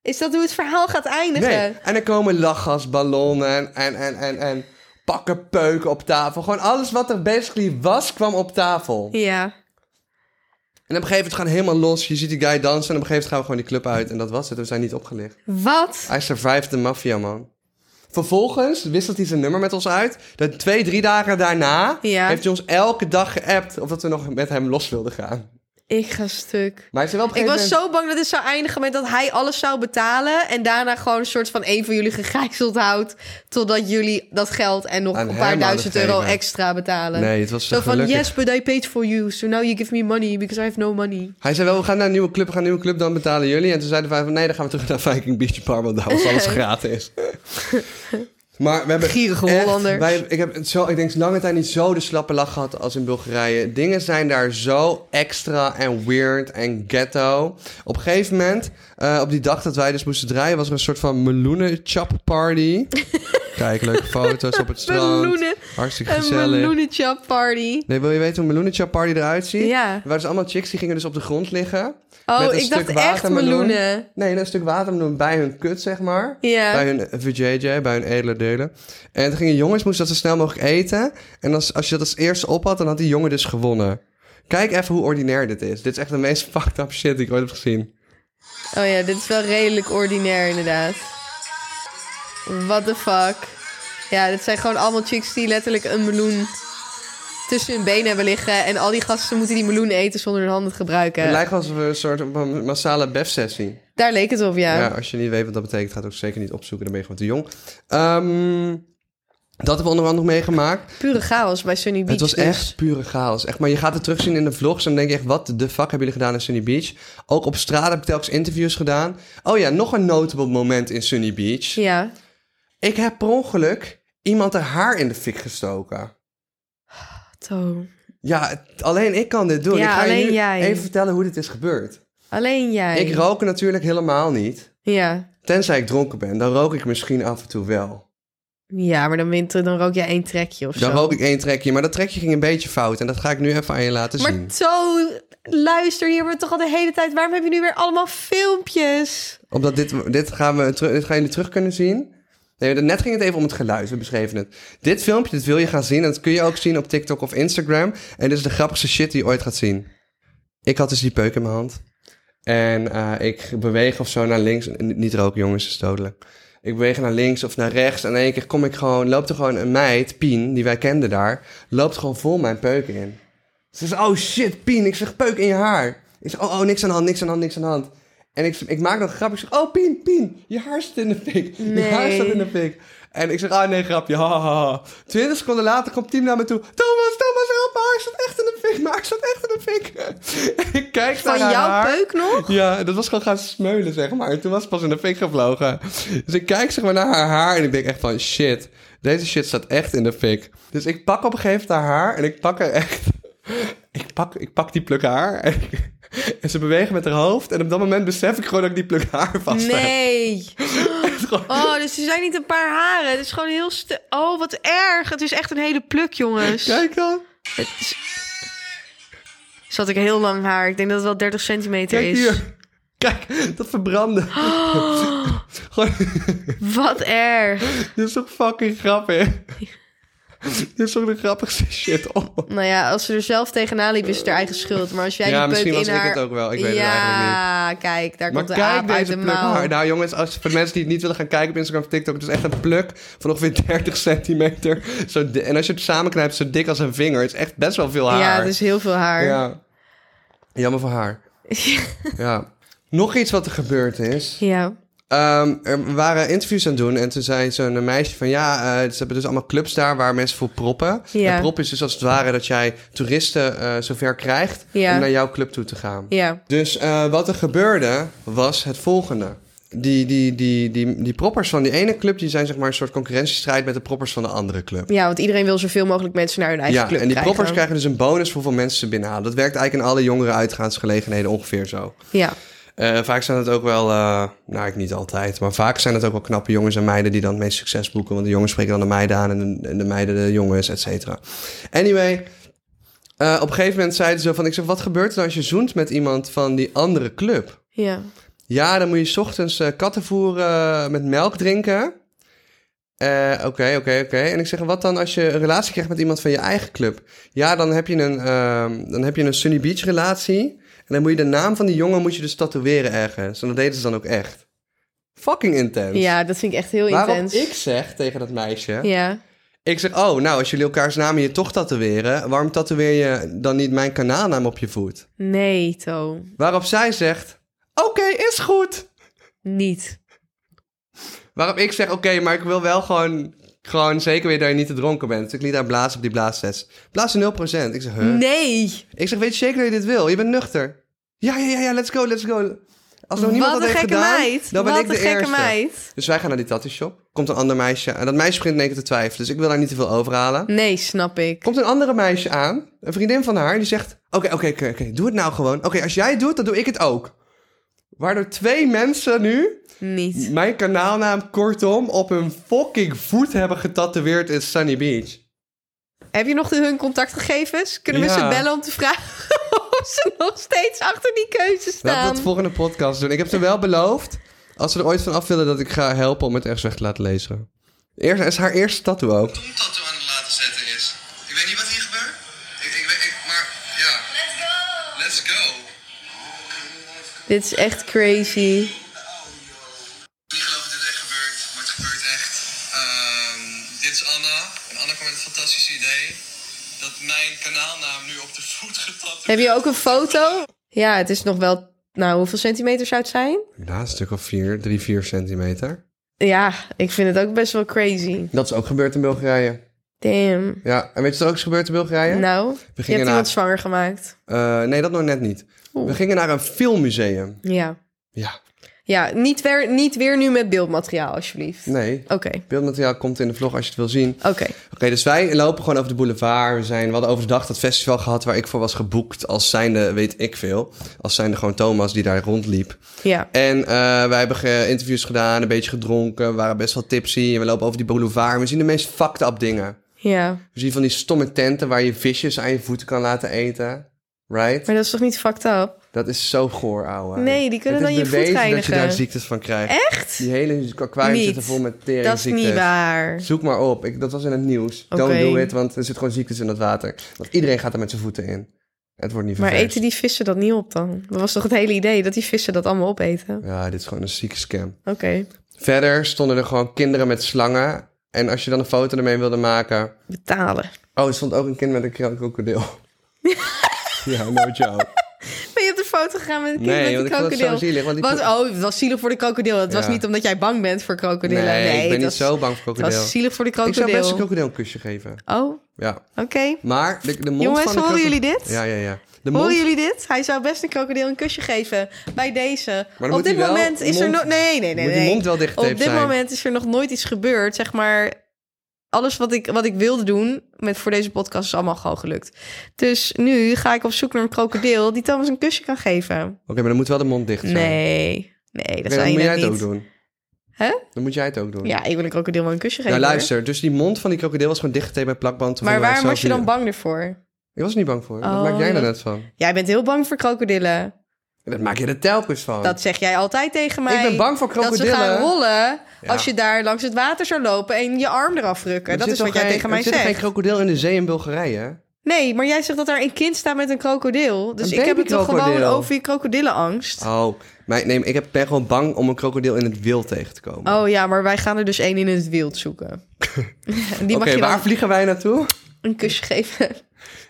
Is dat hoe het verhaal gaat eindigen? Nee. En er komen lachgas, ballonnen en, en, en, en pakken peuken op tafel. Gewoon alles wat er basically was, kwam op tafel. Ja. En op een gegeven moment gaan we helemaal los. Je ziet die guy dansen en op een gegeven moment gaan we gewoon die club uit. En dat was het. We zijn niet opgelicht. Wat? Hij survived de maffia, man. Vervolgens wisselt hij zijn nummer met ons uit. De twee, drie dagen daarna Ja. heeft hij ons elke dag geappt of dat we nog met hem los wilden gaan. Ik ga stuk. Maar hij zei wel op een Ik gegeven was moment... zo bang dat het zou eindigen met dat hij alles zou betalen. En daarna gewoon een soort van een van jullie gegijzeld houdt. Totdat jullie dat geld en nog Aan een hem paar hadden duizend euro gegeven. extra betalen. Nee, het was Zo van, gelukkig. yes, but I paid for you. So now you give me money because I have no money. Hij zei wel, we gaan naar een nieuwe club, we gaan naar een nieuwe club, dan betalen jullie. En toen zeiden wij van, nee, dan gaan we terug naar Viking Beach Bar, want daar was alles gratis. maar we hebben Gierige echt- Hollander. wij, ik heb het zo, ik denk lange tijd niet zo de slappe lach gehad als in Bulgarije. Dingen zijn daar zo extra en weird en ghetto. Op een gegeven moment, eh, op die dag dat wij dus moesten draaien, was er een soort van meloenen-chap party. Kijk, leuke foto's op het strand. Meloenen. Hartstikke Een gezellig. meloenenchap party. Nee, wil je weten hoe een meloenenchap party eruit ziet? Ja. Er waren dus allemaal chicks die gingen dus op de grond liggen. Oh, Met een ik stuk dacht echt watermeloen. meloenen. Nee, een stuk watermeloen bij hun kut, zeg maar. Ja. Bij hun eh, VJJ, bij hun edele delen. En toen gingen jongens, moesten dat zo snel mogelijk eten. En als, als je dat als eerste op had, dan had die jongen dus gewonnen. Kijk even hoe ordinair dit is. Dit is echt de meest fucked up shit die ik ooit heb gezien. Oh ja, dit is wel redelijk ordinair inderdaad. What the fuck. Ja, dit zijn gewoon allemaal chicks die letterlijk een meloen tussen hun benen hebben liggen. En al die gasten moeten die meloen eten zonder hun handen te Het gebruiken. lijkt alsof we een soort van massale bef-sessie. Daar leek het op, ja. Ja. als je niet weet wat dat betekent, gaat ook zeker niet opzoeken. Dan ben je gewoon te jong. Ehm, dat hebben we onder andere meegemaakt. Pure chaos bij Sunny Beach. Het was dus. echt pure chaos. Echt, maar je gaat het terugzien in de vlogs en dan denk je echt... wat de fuck hebben jullie gedaan in Sunny Beach? Ook op straat heb ik telkens interviews gedaan. Oh ja, nog een notable moment in Sunny Beach. Ja. Ik heb per ongeluk iemand haar haar in de fik gestoken. Zo. Ja, het- alleen ik kan dit doen. Ja, ik ga je alleen nu jij. even vertellen hoe dit is gebeurd. Alleen jij. Ik rook natuurlijk helemaal niet. Ja. Tenzij ik dronken ben, dan rook ik misschien af en toe wel. Ja, maar dan, winter, dan rook jij één trekje of zo. Dan rook ik één trekje, maar dat trekje ging een beetje fout. En dat ga ik nu even aan je laten zien. Maar zo, luister, hier hebben we toch al de hele tijd... Waarom heb je nu weer allemaal filmpjes? Omdat dit, dit, gaan we teru- dit gaan jullie terug kunnen zien. Nee, net ging het even om het geluid. We beschreven het. Dit filmpje, dit wil je gaan zien. En dat kun je ook zien op TikTok of Instagram. En dit is de grappigste shit die je ooit gaat zien. Ik had dus die peuk in mijn hand. En eh, ik beweeg of zo naar links. N- Niet roken, jongens, is dodelijk. Ik beweeg naar links of naar rechts. En in één keer kom ik gewoon, loopt er gewoon een meid, Pien, die wij kenden daar. Loopt gewoon vol mijn peuk in. Ze zegt, oh shit, Pien. Ik zeg, peuk in je haar. Ik zeg, oh, oh, niks aan de hand, niks aan de hand, niks aan de hand. En ik, ik maak nog een grap. Ik zeg, oh, Pien, Pien, je haar zit in de fik. Je Nee. haar zit in de fik. En ik zeg, ah nee, grapje, ha, ha, ha. Twintig seconden later komt Pien naar me toe. Thomas, Thomas, help, mijn haar zat echt in de fik. Mijn haar zat echt in de fik. En ik kijk Van naar haar jouw haar. peuk nog? Ja, dat was gewoon gaan smeulen, zeg maar. En toen was het pas in de fik gevlogen. Dus ik kijk zeg maar naar haar haar en ik denk echt van... Shit, deze shit staat echt in de fik. Dus ik pak op een gegeven moment haar haar en ik pak haar echt... Ik pak, ik pak die pluk haar en, ik- en ze bewegen met haar hoofd. En op dat moment besef ik gewoon dat ik die pluk haar vast heb. Nee. Het is gewoon- Oh, dus er zijn niet een paar haren. Het is gewoon heel stu- Oh, wat erg. Het is echt een hele pluk, jongens. Kijk dan. Het is... Zat ik heel lang haar. Ik denk dat het wel 30 centimeter Kijk is. hier. Kijk, dat verbrandde. Gewoon, Wat erg. dit is toch fucking grappig. Dit is ook de grappigste shit op. Nou ja, als ze er zelf tegenaan liep, is het haar eigen schuld. Maar als jij Ja, die misschien peuk in was ik haar... het ook wel. Ik weet het eigenlijk niet. ja, kijk, daar Maar komt de aap kijk uit deze de pluk haar. mouw. Nou jongens, als, voor de mensen die het niet willen gaan kijken op Instagram of TikTok... het is echt een pluk van ongeveer 30 centimeter. Zo di- en als je het samenknijpt, zo dik als een vinger. Het is echt best wel veel haar. Ja, dus heel veel haar. Ja. Jammer voor haar. ja. Nog iets wat er gebeurd is. Ja. Ehm, er waren interviews aan het doen en toen zei zo'n meisje van ja, eh, ze hebben dus allemaal clubs daar waar mensen voor proppen. Ja. En prop is dus als het ware dat jij toeristen eh, zover krijgt Ja. om naar jouw club toe te gaan. Ja. Dus eh, wat er gebeurde was het volgende. Die, die, die, die, die proppers van die ene club die zijn zeg maar een soort concurrentiestrijd met de proppers van de andere club. ja, want iedereen wil zoveel mogelijk mensen naar hun eigen Ja, club en die krijgen. proppers krijgen dus een bonus voor hoeveel mensen ze binnenhalen. Dat werkt eigenlijk in alle jongere uitgaansgelegenheden ongeveer zo. Ja. Eh, vaak zijn het ook wel, eh, nou ik niet altijd, maar vaak zijn het ook wel knappe jongens en meiden die dan het meest succes boeken. Want de jongens spreken dan de meiden aan en de, en de meiden de jongens, et cetera. Anyway, eh, op een gegeven moment zeiden ze van, ik zeg, wat gebeurt er nou als je zoent met iemand van die andere club? Ja. Ja, dan moet je 's ochtends eh, kattenvoer eh, met melk drinken. Eh, Oké, oké, oké. En ik zeg, wat dan als je een relatie krijgt met iemand van je eigen club? Ja, dan heb je een, ehm, dan heb je een Sunny Beach relatie. En dan moet je de naam van die jongen moet je dus tatoeëren ergens. En dat deden ze dan ook echt. Fucking intens. ja, dat vind ik echt heel Waarop intens. Dus- ik zeg tegen dat meisje... Ja. Ik zeg, oh, nou, als jullie elkaars namen je toch tatoeëren... waarom tatoeëer je dan niet mijn kanaalnaam op je voet? Nee, To. Waarop zij zegt, oké, is goed. Niet. Waarop ik zeg, oké, maar ik wil wel gewoon, gewoon zeker weer dat je niet te dronken bent. Dus ik liet haar blazen op die blaastest. Blazen 0%. Ik zeg, huh? Nee. Ik zeg, weet je zeker dat je dit wil? Je bent nuchter. Ja, ja, ja, ja, let's go, let's go. Als nog niemand Wat dat een heeft gekke gedaan, meid. dan ben Wat ik een de gekke eerste. meid. Dus wij gaan naar die tattoo shop. Komt een ander meisje. En dat meisje begint in één keer te twijfelen. Dus ik wil haar niet te veel overhalen. Nee, snap ik. Komt een andere meisje aan. Een vriendin van haar. Die zegt, oké, oké, oké, oké, doe het nou gewoon. Oké, als jij het doet, dan doe ik het ook. Waardoor twee mensen nu Niet. mijn kanaalnaam kortom op hun fucking voet hebben getatoeëerd in Sunny Beach. Heb je nog de- hun contactgegevens? Kunnen we Ja. ze bellen om te vragen of ze nog steeds achter die keuze Laten we staan? dat volgende podcast doen. Ik heb ze wel beloofd, als ze er ooit van af willen, dat ik ga helpen om het echt weg te laten lezen. Eerst, is haar eerste tattoo ook. tongtattoo aan het laten zetten is. Ik weet niet wat hier gebeurt. Ik, ik, weet- ik, maar ja. Let's go. Let's go. Dit is echt crazy. Ik geloof dat dit echt gebeurt, maar het gebeurt echt. Ehm, dit is Anna. En Anna kwam met het fantastische idee dat mijn kanaalnaam nu op de voet getatoeëerd Heb je ook een foto? Ja, het is nog wel... Nou, hoeveel centimeter zou het zijn? Ja, een stuk of 4, 3, 4 centimeter. Ja, ik vind het ook best wel crazy. Dat is ook gebeurd in Bulgarije. Damn. Ja, en weet je wat er ook is gebeurd in Bulgarije? Nou, je hebt gingen naar- iemand zwanger gemaakt. Eh, nee, dat nog net niet. We gingen naar een filmmuseum. Ja. Ja. Ja, niet weer, niet weer nu met beeldmateriaal, alsjeblieft. Nee. Oké, Beeldmateriaal komt in de vlog als je het wil zien. oké. Oké, dus wij lopen gewoon over de boulevard. We, zijn, we hadden overdag dat festival gehad waar ik voor was geboekt. Als zijnde, weet ik veel. Als zijnde gewoon Thomas die daar rondliep. Ja. En eh, wij hebben ge- interviews gedaan, een beetje gedronken. We waren best wel tipsy. En we lopen over die boulevard. en We zien de meest fucked up dingen. Ja. We zien van die stomme tenten waar je visjes aan je voeten kan laten eten. Right? Maar dat is toch niet fucked up? Dat is zo goor, ouwe. Nee, die kunnen Het is dan je voet bewezen dat je reinigen. daar ziektes van krijgt. Echt? Die hele aquarium Niet. zit er vol met Dat is teringziektes. niet waar. Zoek maar op. Ik, dat was in het nieuws. Oké. Don't do it, want er zit gewoon ziektes in dat water. Want iedereen gaat er met zijn voeten in. Het wordt niet Maar ververst. eten die vissen dat niet op dan? Dat was toch het hele idee, dat die vissen dat allemaal opeten? Ja, dit is gewoon een zieke scam. Oké. Verder stonden er gewoon kinderen met slangen. En als je dan een foto ermee wilde maken... Betalen. Oh, er stond ook een kind met een kro- krokodil. ja, no joke. Ben je op de foto gegaan met een kind Nee, met want een ik vond het krokodil? zo zielig, want die Wat? kro- Oh, het was zielig voor de krokodil. Het was Ja. niet omdat jij bang bent voor krokodillen. Nee, Nee, ik ben het niet was- zo bang voor Het krokodil. was zielig voor de Ik zou best een krokodil. krokodil een kusje geven. Oh, oké. Ja. Maar de, de mond Jongens, van de horen krokodil- jullie dit? Ja, ja, ja. De mond... Horen jullie dit? Hij zou best een krokodil een kusje geven bij deze. dan Op moet dit hij wel moment is er mond- nog... Nee, nee, nee. moet die nee. mond wel dichtgetaped Op dit zijn. moment is er nog nooit iets gebeurd. Zeg maar, alles wat ik, wat ik wilde doen met, voor deze podcast is allemaal gewoon gelukt. Dus nu ga ik op zoek naar een krokodil die Thomas een kusje kan geven. Oké, maar dan moet wel de mond dicht zijn. Nee, nee, dat Oké, zou dan je moet jij net het ook niet. doen. Hè? Dan moet jij het ook doen. Ja, ik wil een krokodil wel een kusje Nou, geven. luister. Dus die mond van die krokodil was gewoon dichtgetaped met plakband. Toen Maar vonden wij waarom was je zelf dan die- bang ervoor? Ik was er niet bang voor. Wat Oh, maak jij er ja. net van? Jij bent heel bang voor krokodillen. En dat maak je er telkens van. Dat zeg jij altijd tegen mij. Ik ben bang voor Dat ze gaan krokodillen. rollen Ja. als je daar langs het water zou lopen en je arm eraf rukken. Er dat zit is wat toch jij geen- tegen mij Er zit toch zegt. geen krokodil in de zee in Bulgarije. hè? Nee, maar jij zegt dat daar een kind staat met een krokodil. Dus Een ik heb het toch babykrokodil. gewoon over je krokodillenangst. Oh. Oh, maar nee, ik heb- ben gewoon bang om een krokodil in het wild tegen te komen. ja, maar wij gaan er dus één in het wild zoeken. Die Oké, mag je waar dan vliegen wij naartoe? een kusje geven.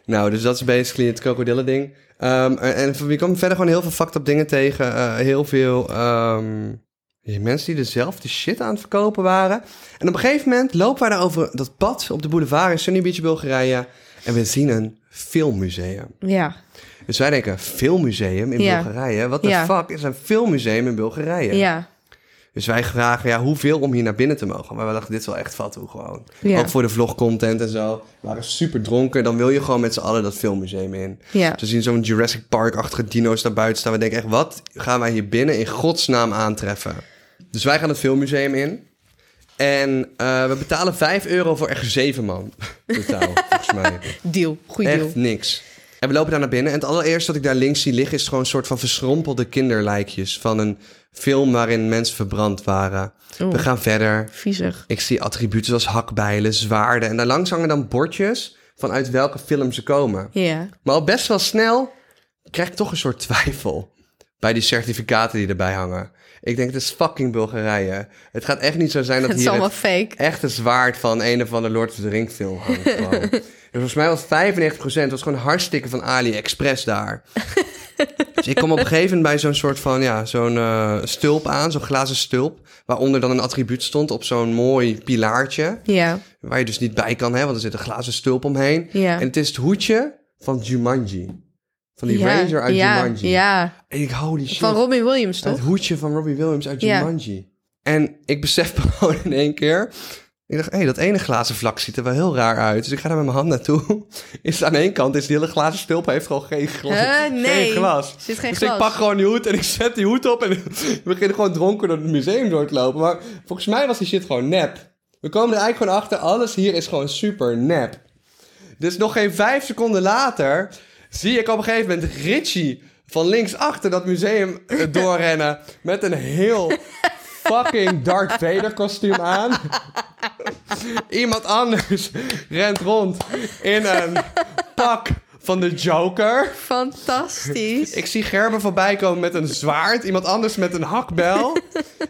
Nou, dus dat is basically het krokodillending. Ehm, en- en je komt verder gewoon heel veel fucked up dingen tegen. Eh, heel veel ehm, die mensen die dezelfde shit aan het verkopen waren. En op een gegeven moment lopen wij daar over dat pad op de boulevard in Sunny Beach, Bulgarije. En we zien een filmmuseum. Ja, Dus wij denken, filmmuseum in Ja. Bulgarije? Wat de Ja. fuck is een filmmuseum in Bulgarije? ja, Dus wij vragen, ja, hoeveel om hier naar binnen te mogen? Maar we dachten, dit is wel echt fatsoen gewoon. Ja. Ook voor de vlogcontent en zo. We waren super dronken. Dan wil je gewoon met z'n allen dat filmmuseum in. ja. Ze zien zo'n Jurassic Park-achtige dino's daar buiten staan. We denken echt, wat gaan wij hier binnen in godsnaam aantreffen? Dus wij gaan het filmmuseum in. En eh, we betalen 5 euro voor echt 7 man. Totaal, volgens mij. Deal, goed deal. Echt niks. En we lopen daar naar binnen. En het allereerste wat ik daar links zie liggen... is gewoon een soort van verschrompelde kinderlijkjes... van een film waarin mensen verbrand waren. Oeh. We gaan verder. Viezig. Ik zie attributen zoals hakbijlen, zwaarden... en daar langs hangen dan bordjes... vanuit welke film ze komen. Ja. Maar al best wel snel krijg ik toch een soort twijfel bij die certificaten die erbij hangen. Ik denk, het is fucking Bulgarije. Het gaat echt niet zo zijn dat Het is hier allemaal het fake. echte zwaard van een of andere Lord of the Ring film hangt. gewoon. dus volgens mij was 95% was gewoon hartstikke van AliExpress daar. dus ik kom op een gegeven moment bij zo'n soort van, ja, zo'n eh, stulp aan, zo'n glazen stulp. Waaronder dan een attribuut stond op zo'n mooi pilaartje. Ja, Waar je dus niet bij kan, hè, want er zit een glazen stulp omheen. ja. En het is het hoedje van Jumanji. Van die ja, ranger uit ja, Jumanji. Ja, En ik, holy shit. van Robin Williams het toch? hoedje van Robbie Williams uit Ja. Jumanji. En ik besef gewoon in één keer... Ik dacht, hé, dat ene glazen vlak ziet er wel heel raar uit. Dus ik ga daar met mijn hand naartoe. Is aan één kant, is die hele glazen stulp heeft gewoon geen glas. Huh? nee. Geen glas. Er zit geen Dus glas. ik pak gewoon die hoed en ik zet die hoed op en we beginnen gewoon dronken door het museum door te lopen. Maar volgens mij was die shit gewoon nep. We komen er eigenlijk gewoon achter, alles hier is gewoon super nep. Dus nog geen vijf seconden later zie ik op een gegeven moment Richie van links achter dat museum eh, doorrennen met een heel fucking Darth Vader kostuum aan. Iemand anders rent rond in een pak van de Joker. Fantastisch. Ik zie Gerben voorbij komen met een zwaard. Iemand anders met een hakbel.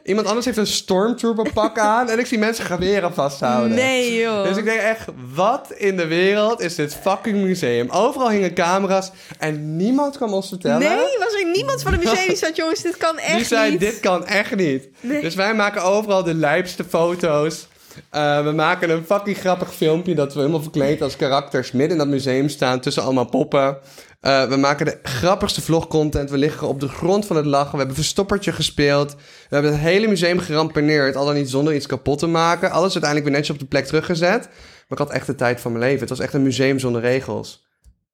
Iemand anders heeft een stormtrooper pak aan. En ik zie mensen geweren vasthouden. Nee, joh. Dus ik denk echt, wat in de wereld is dit fucking museum? Overal hingen camera's en niemand kwam ons vertellen. Nee, was er niemand van de museum die zat, jongens, dit kan echt Die zei, niet. dit kan echt niet. Nee. Dus wij maken overal de lijpste foto's. Eh, we maken een fucking grappig filmpje dat we helemaal verkleed als karakters midden in dat museum staan tussen allemaal poppen. Eh, we maken de grappigste vlogcontent. We liggen op de grond van het lachen. We hebben verstoppertje gespeeld. We hebben het hele museum geramponeerd. Al dan niet zonder iets kapot te maken. Alles uiteindelijk weer netjes op de plek teruggezet. Maar ik had echt de tijd van mijn leven. Het was echt een museum zonder regels.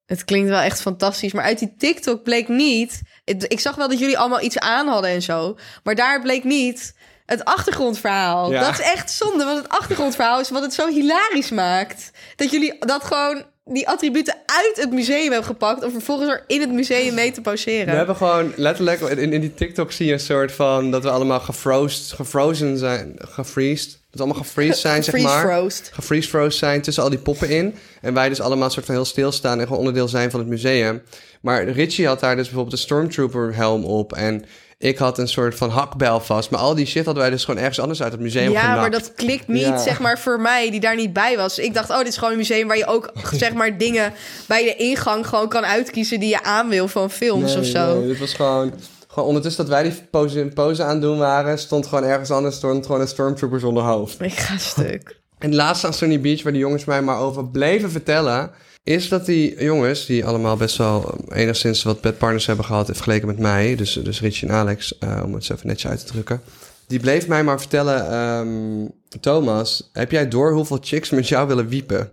Het klinkt wel echt fantastisch, maar uit die TikTok bleek niet... het- ik zag wel dat jullie allemaal iets aan hadden en zo, maar daar bleek niet het achtergrondverhaal. Ja. Dat is echt zonde, want het achtergrondverhaal is wat het zo hilarisch maakt. Dat jullie dat gewoon, die attributen uit het museum hebben gepakt... om vervolgens er in het museum mee te We poseren. hebben gewoon letterlijk... In, in die TikTok zie je een soort van... Dat we allemaal gefrozen, gefrozen zijn. Gefreezed. Dat we allemaal gefreezed zijn, zeg maar. Freeze-frozen. gefreeze froze zijn tussen al die poppen in. En wij dus allemaal soort van heel stilstaan en gewoon onderdeel zijn van het museum. Maar Richie had daar dus bijvoorbeeld een stormtrooper helm op en ik had een soort van hakbel vast. Maar al die shit hadden wij dus gewoon ergens anders uit het museum Ja, genakt. maar dat klikt niet, Ja. zeg maar, voor mij, die daar niet bij was. Ik dacht, oh, dit is gewoon een museum waar je ook, zeg maar, dingen bij de ingang gewoon kan uitkiezen die je aan wil van films Nee, of zo. Nee, dit was gewoon... Gewoon ondertussen dat wij die pose, pose aan het doen waren, stond gewoon ergens anders stond gewoon een stormtrooper zonder hoofd. Ik ga stuk. En laatst aan Sunny Beach, waar die jongens mij maar over bleven vertellen, is dat die jongens, die allemaal best wel um, enigszins wat bedpartners hebben gehad vergeleken met mij, dus, dus Richie en Alex, eh, om het zo even netjes uit te drukken, die bleef mij maar vertellen, ehm, Thomas, heb jij door hoeveel chicks met jou willen wiepen?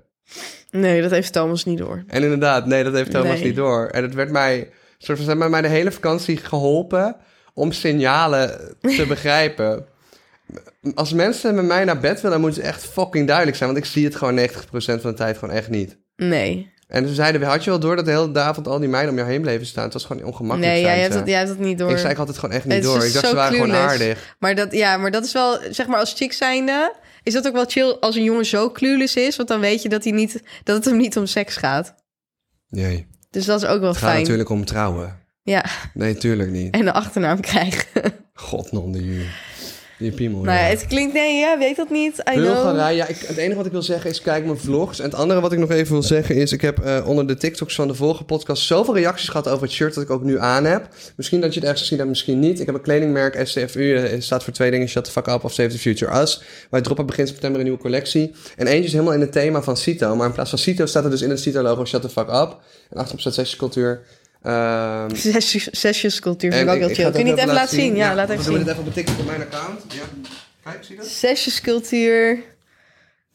Nee, dat heeft Thomas niet door. En inderdaad, nee, dat heeft Thomas Nee. niet door. En het werd mij, soort van, ze hebben mij de hele vakantie geholpen om signalen te begrijpen. Als mensen met mij naar bed willen, dan moeten ze echt fucking duidelijk zijn. Want ik zie het gewoon 90% van de tijd gewoon echt niet. Nee. En ze zeiden, had je wel door dat de hele avond al die meiden om jou heen bleven staan? Het was gewoon ongemakkelijk. Nee, zei jij hebt, ze. dat, jij hebt dat niet door. Ik zei, ik had het gewoon echt niet Het is dus door. Ik dacht, zo ze waren gewoon clueless. aardig. Maar dat, ja, maar dat is wel, zeg maar, als chick zijnde... is dat ook wel chill als een jongen zo clueless is... want dan weet je dat, hij niet, dat het hem niet om seks gaat. Nee, Dus dat is ook wel het gaat fijn. natuurlijk om trouwen. Ja, Nee, tuurlijk niet. en een achternaam krijgen. God, non, die, die piemel. nou ja, ja. het klinkt... Nee, ja, weet dat niet. I know. Bulgarije. Ja, ik, het enige wat ik wil zeggen is kijk mijn vlogs. En het andere wat ik nog even wil zeggen is... ik heb eh, onder de TikToks van de vorige podcast... zoveel reacties gehad over het shirt dat ik ook nu aan heb. Misschien dat je het ergens gezien hebt, misschien niet. Ik heb een kledingmerk, STFU. eh, staat voor twee dingen, Shut the Fuck Up of Save the Future Us. Wij droppen begin september een nieuwe collectie. En eentje is helemaal in het thema van Cito. Maar in plaats van Cito staat er dus in het Cito-logo Shut the Fuck Up. En achterop staat sekscultuur. Ehm Zes- Zesjescultuur vind ik en ook heel Eh, ga chill. het Kun je ook niet even laten zien? Ja, laat we even doen zien. het even op de TikTok op mijn account. Ja. Kijk, zie je dat? Sessiescultuur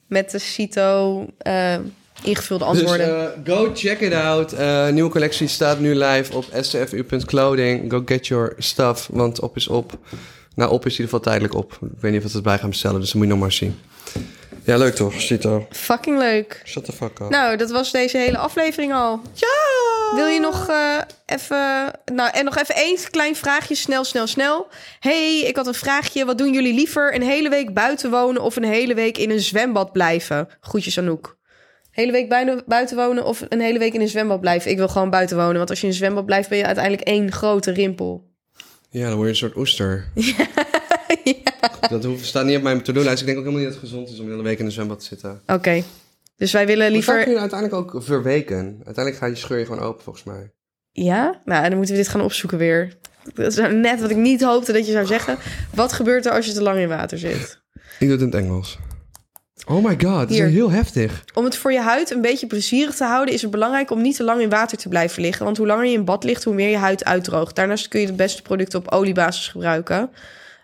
met de CITO eh, ingevulde antwoorden. Dus eh, go check it out. Eh, nieuwe collectie staat nu live op stfu.clothing. Go get your stuff, want op is op. Nou, op is in ieder geval tijdelijk op. Ik weet niet of we het bij gaan bestellen, dus dat moet je nog maar zien. Ja, leuk toch, Cito? Fucking leuk. Shut the fuck up. Nou, dat was deze hele aflevering al. Ja! Wil je nog eh, even... Nou, en nog even één klein vraagje. Snel, snel, snel. Hey, ik had een vraagje. Wat doen jullie liever? Een hele week buiten wonen of een hele week in een zwembad blijven? Groetjes Anouk. Hele week buiten- buiten wonen of een hele week in een zwembad blijven? Ik wil gewoon buiten wonen. Want als je in een zwembad blijft, ben je uiteindelijk één grote rimpel. Ja, dan word je een soort oester. Dat hoeft, staat niet op mijn to-do-lijst. Ik denk ook helemaal niet dat het gezond is om de hele week in een zwembad te zitten. Oké. Dus wij willen Liever... Dat kun liever... je uiteindelijk ook verweken. Uiteindelijk gaat je scheur je gewoon open, volgens mij. Ja? Nou, dan moeten we dit gaan opzoeken weer. Dat is nou net wat ik niet hoopte dat je zou zeggen. Wat gebeurt er als je te lang in water zit? Ik doe het in het Engels. Oh my god, dat is Hier. heel heftig. Om het voor je huid een beetje plezierig te houden... is het belangrijk om niet te lang in water te blijven liggen. Want hoe langer je in bad ligt, hoe meer je huid uitdroogt. Daarnaast kun je de beste producten op oliebasis gebruiken.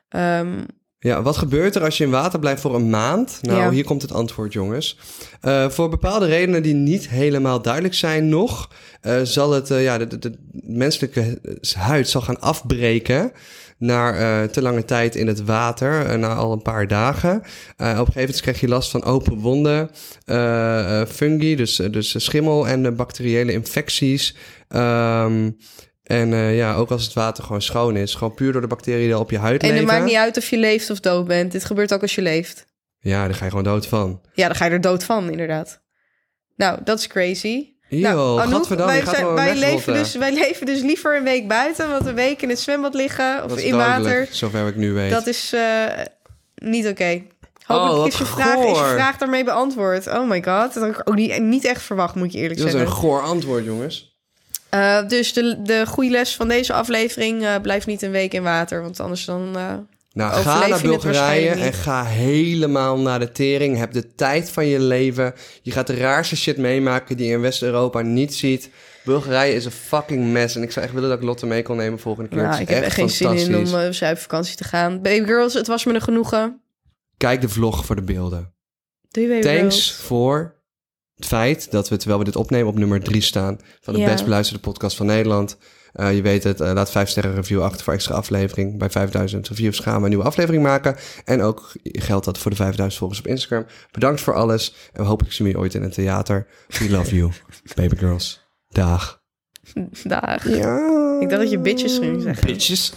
Ehm, Ja, wat gebeurt er als je in water blijft voor een maand? Nou, Ja. hier komt het antwoord, jongens. Eh, voor bepaalde redenen die niet helemaal duidelijk zijn nog, eh, zal het, eh, ja, de, de, de menselijke huid zal gaan afbreken na eh, te lange tijd in het water, eh, na al een paar dagen. Eh, op een gegeven moment krijg je last van open wonden, eh, eh, fungi, dus, eh, dus schimmel en eh, bacteriële infecties. Ehm, en eh, ja, ook als het water gewoon schoon is. Gewoon puur door de bacteriën die al op je huid en leven. het maakt niet uit of je leeft of dood bent. Dit gebeurt ook als je leeft. Ja, daar ga je gewoon dood van. Ja, dan ga je er dood van, inderdaad. Nou, dat is crazy. Nou, Yo, Anouk, gadverdamme, je wij, gaat zijn- gewoon wij, wegrotten. leven dus, wij leven dus liever een week buiten, want een week in het zwembad liggen of Dat is in dodelijk, water, Zover ik nu weet. Oh, dat is eh, niet oké. Hopelijk wat is, je vraag, is je goor. vraag vraag daarmee beantwoord. Oh my god, dat had ik ook niet, niet echt verwacht, moet je eerlijk Dat is zeggen. een goor antwoord, jongens. Eh, dus de, de goede les van deze aflevering, eh blijf niet een week in water, want anders dan... eh, Nou, Overleef ga je naar het Bulgarije waarschijnlijk en niet. ga helemaal naar de tering. Heb de tijd van je leven. Je gaat de raarste shit meemaken die je in West-Europa niet ziet. Bulgarije is een fucking mess. En ik zou echt willen dat ik Lotte mee kon nemen volgende keer. Het nou, is ik heb echt geen zin in om fantastisch. eh, op zuipvakantie te gaan. Baby girls, het was me een genoegen. Kijk de vlog voor de beelden. Doei baby Thanks girls. voor het feit dat we, terwijl we dit opnemen, op nummer 3 staan. Van de Ja. best beluisterde podcast van Nederland. Eh, je weet het, eh, laat 5 sterren review achter voor extra aflevering. Bij 5000 reviews gaan we een nieuwe aflevering maken. En ook geldt dat voor de 5000 volgers op Instagram. Bedankt voor alles. En hopelijk zien we je ooit in een theater. We love you, baby girls. Dag. Dag. Ja. Ik dacht dat je bitches ging zeggen. Bitches.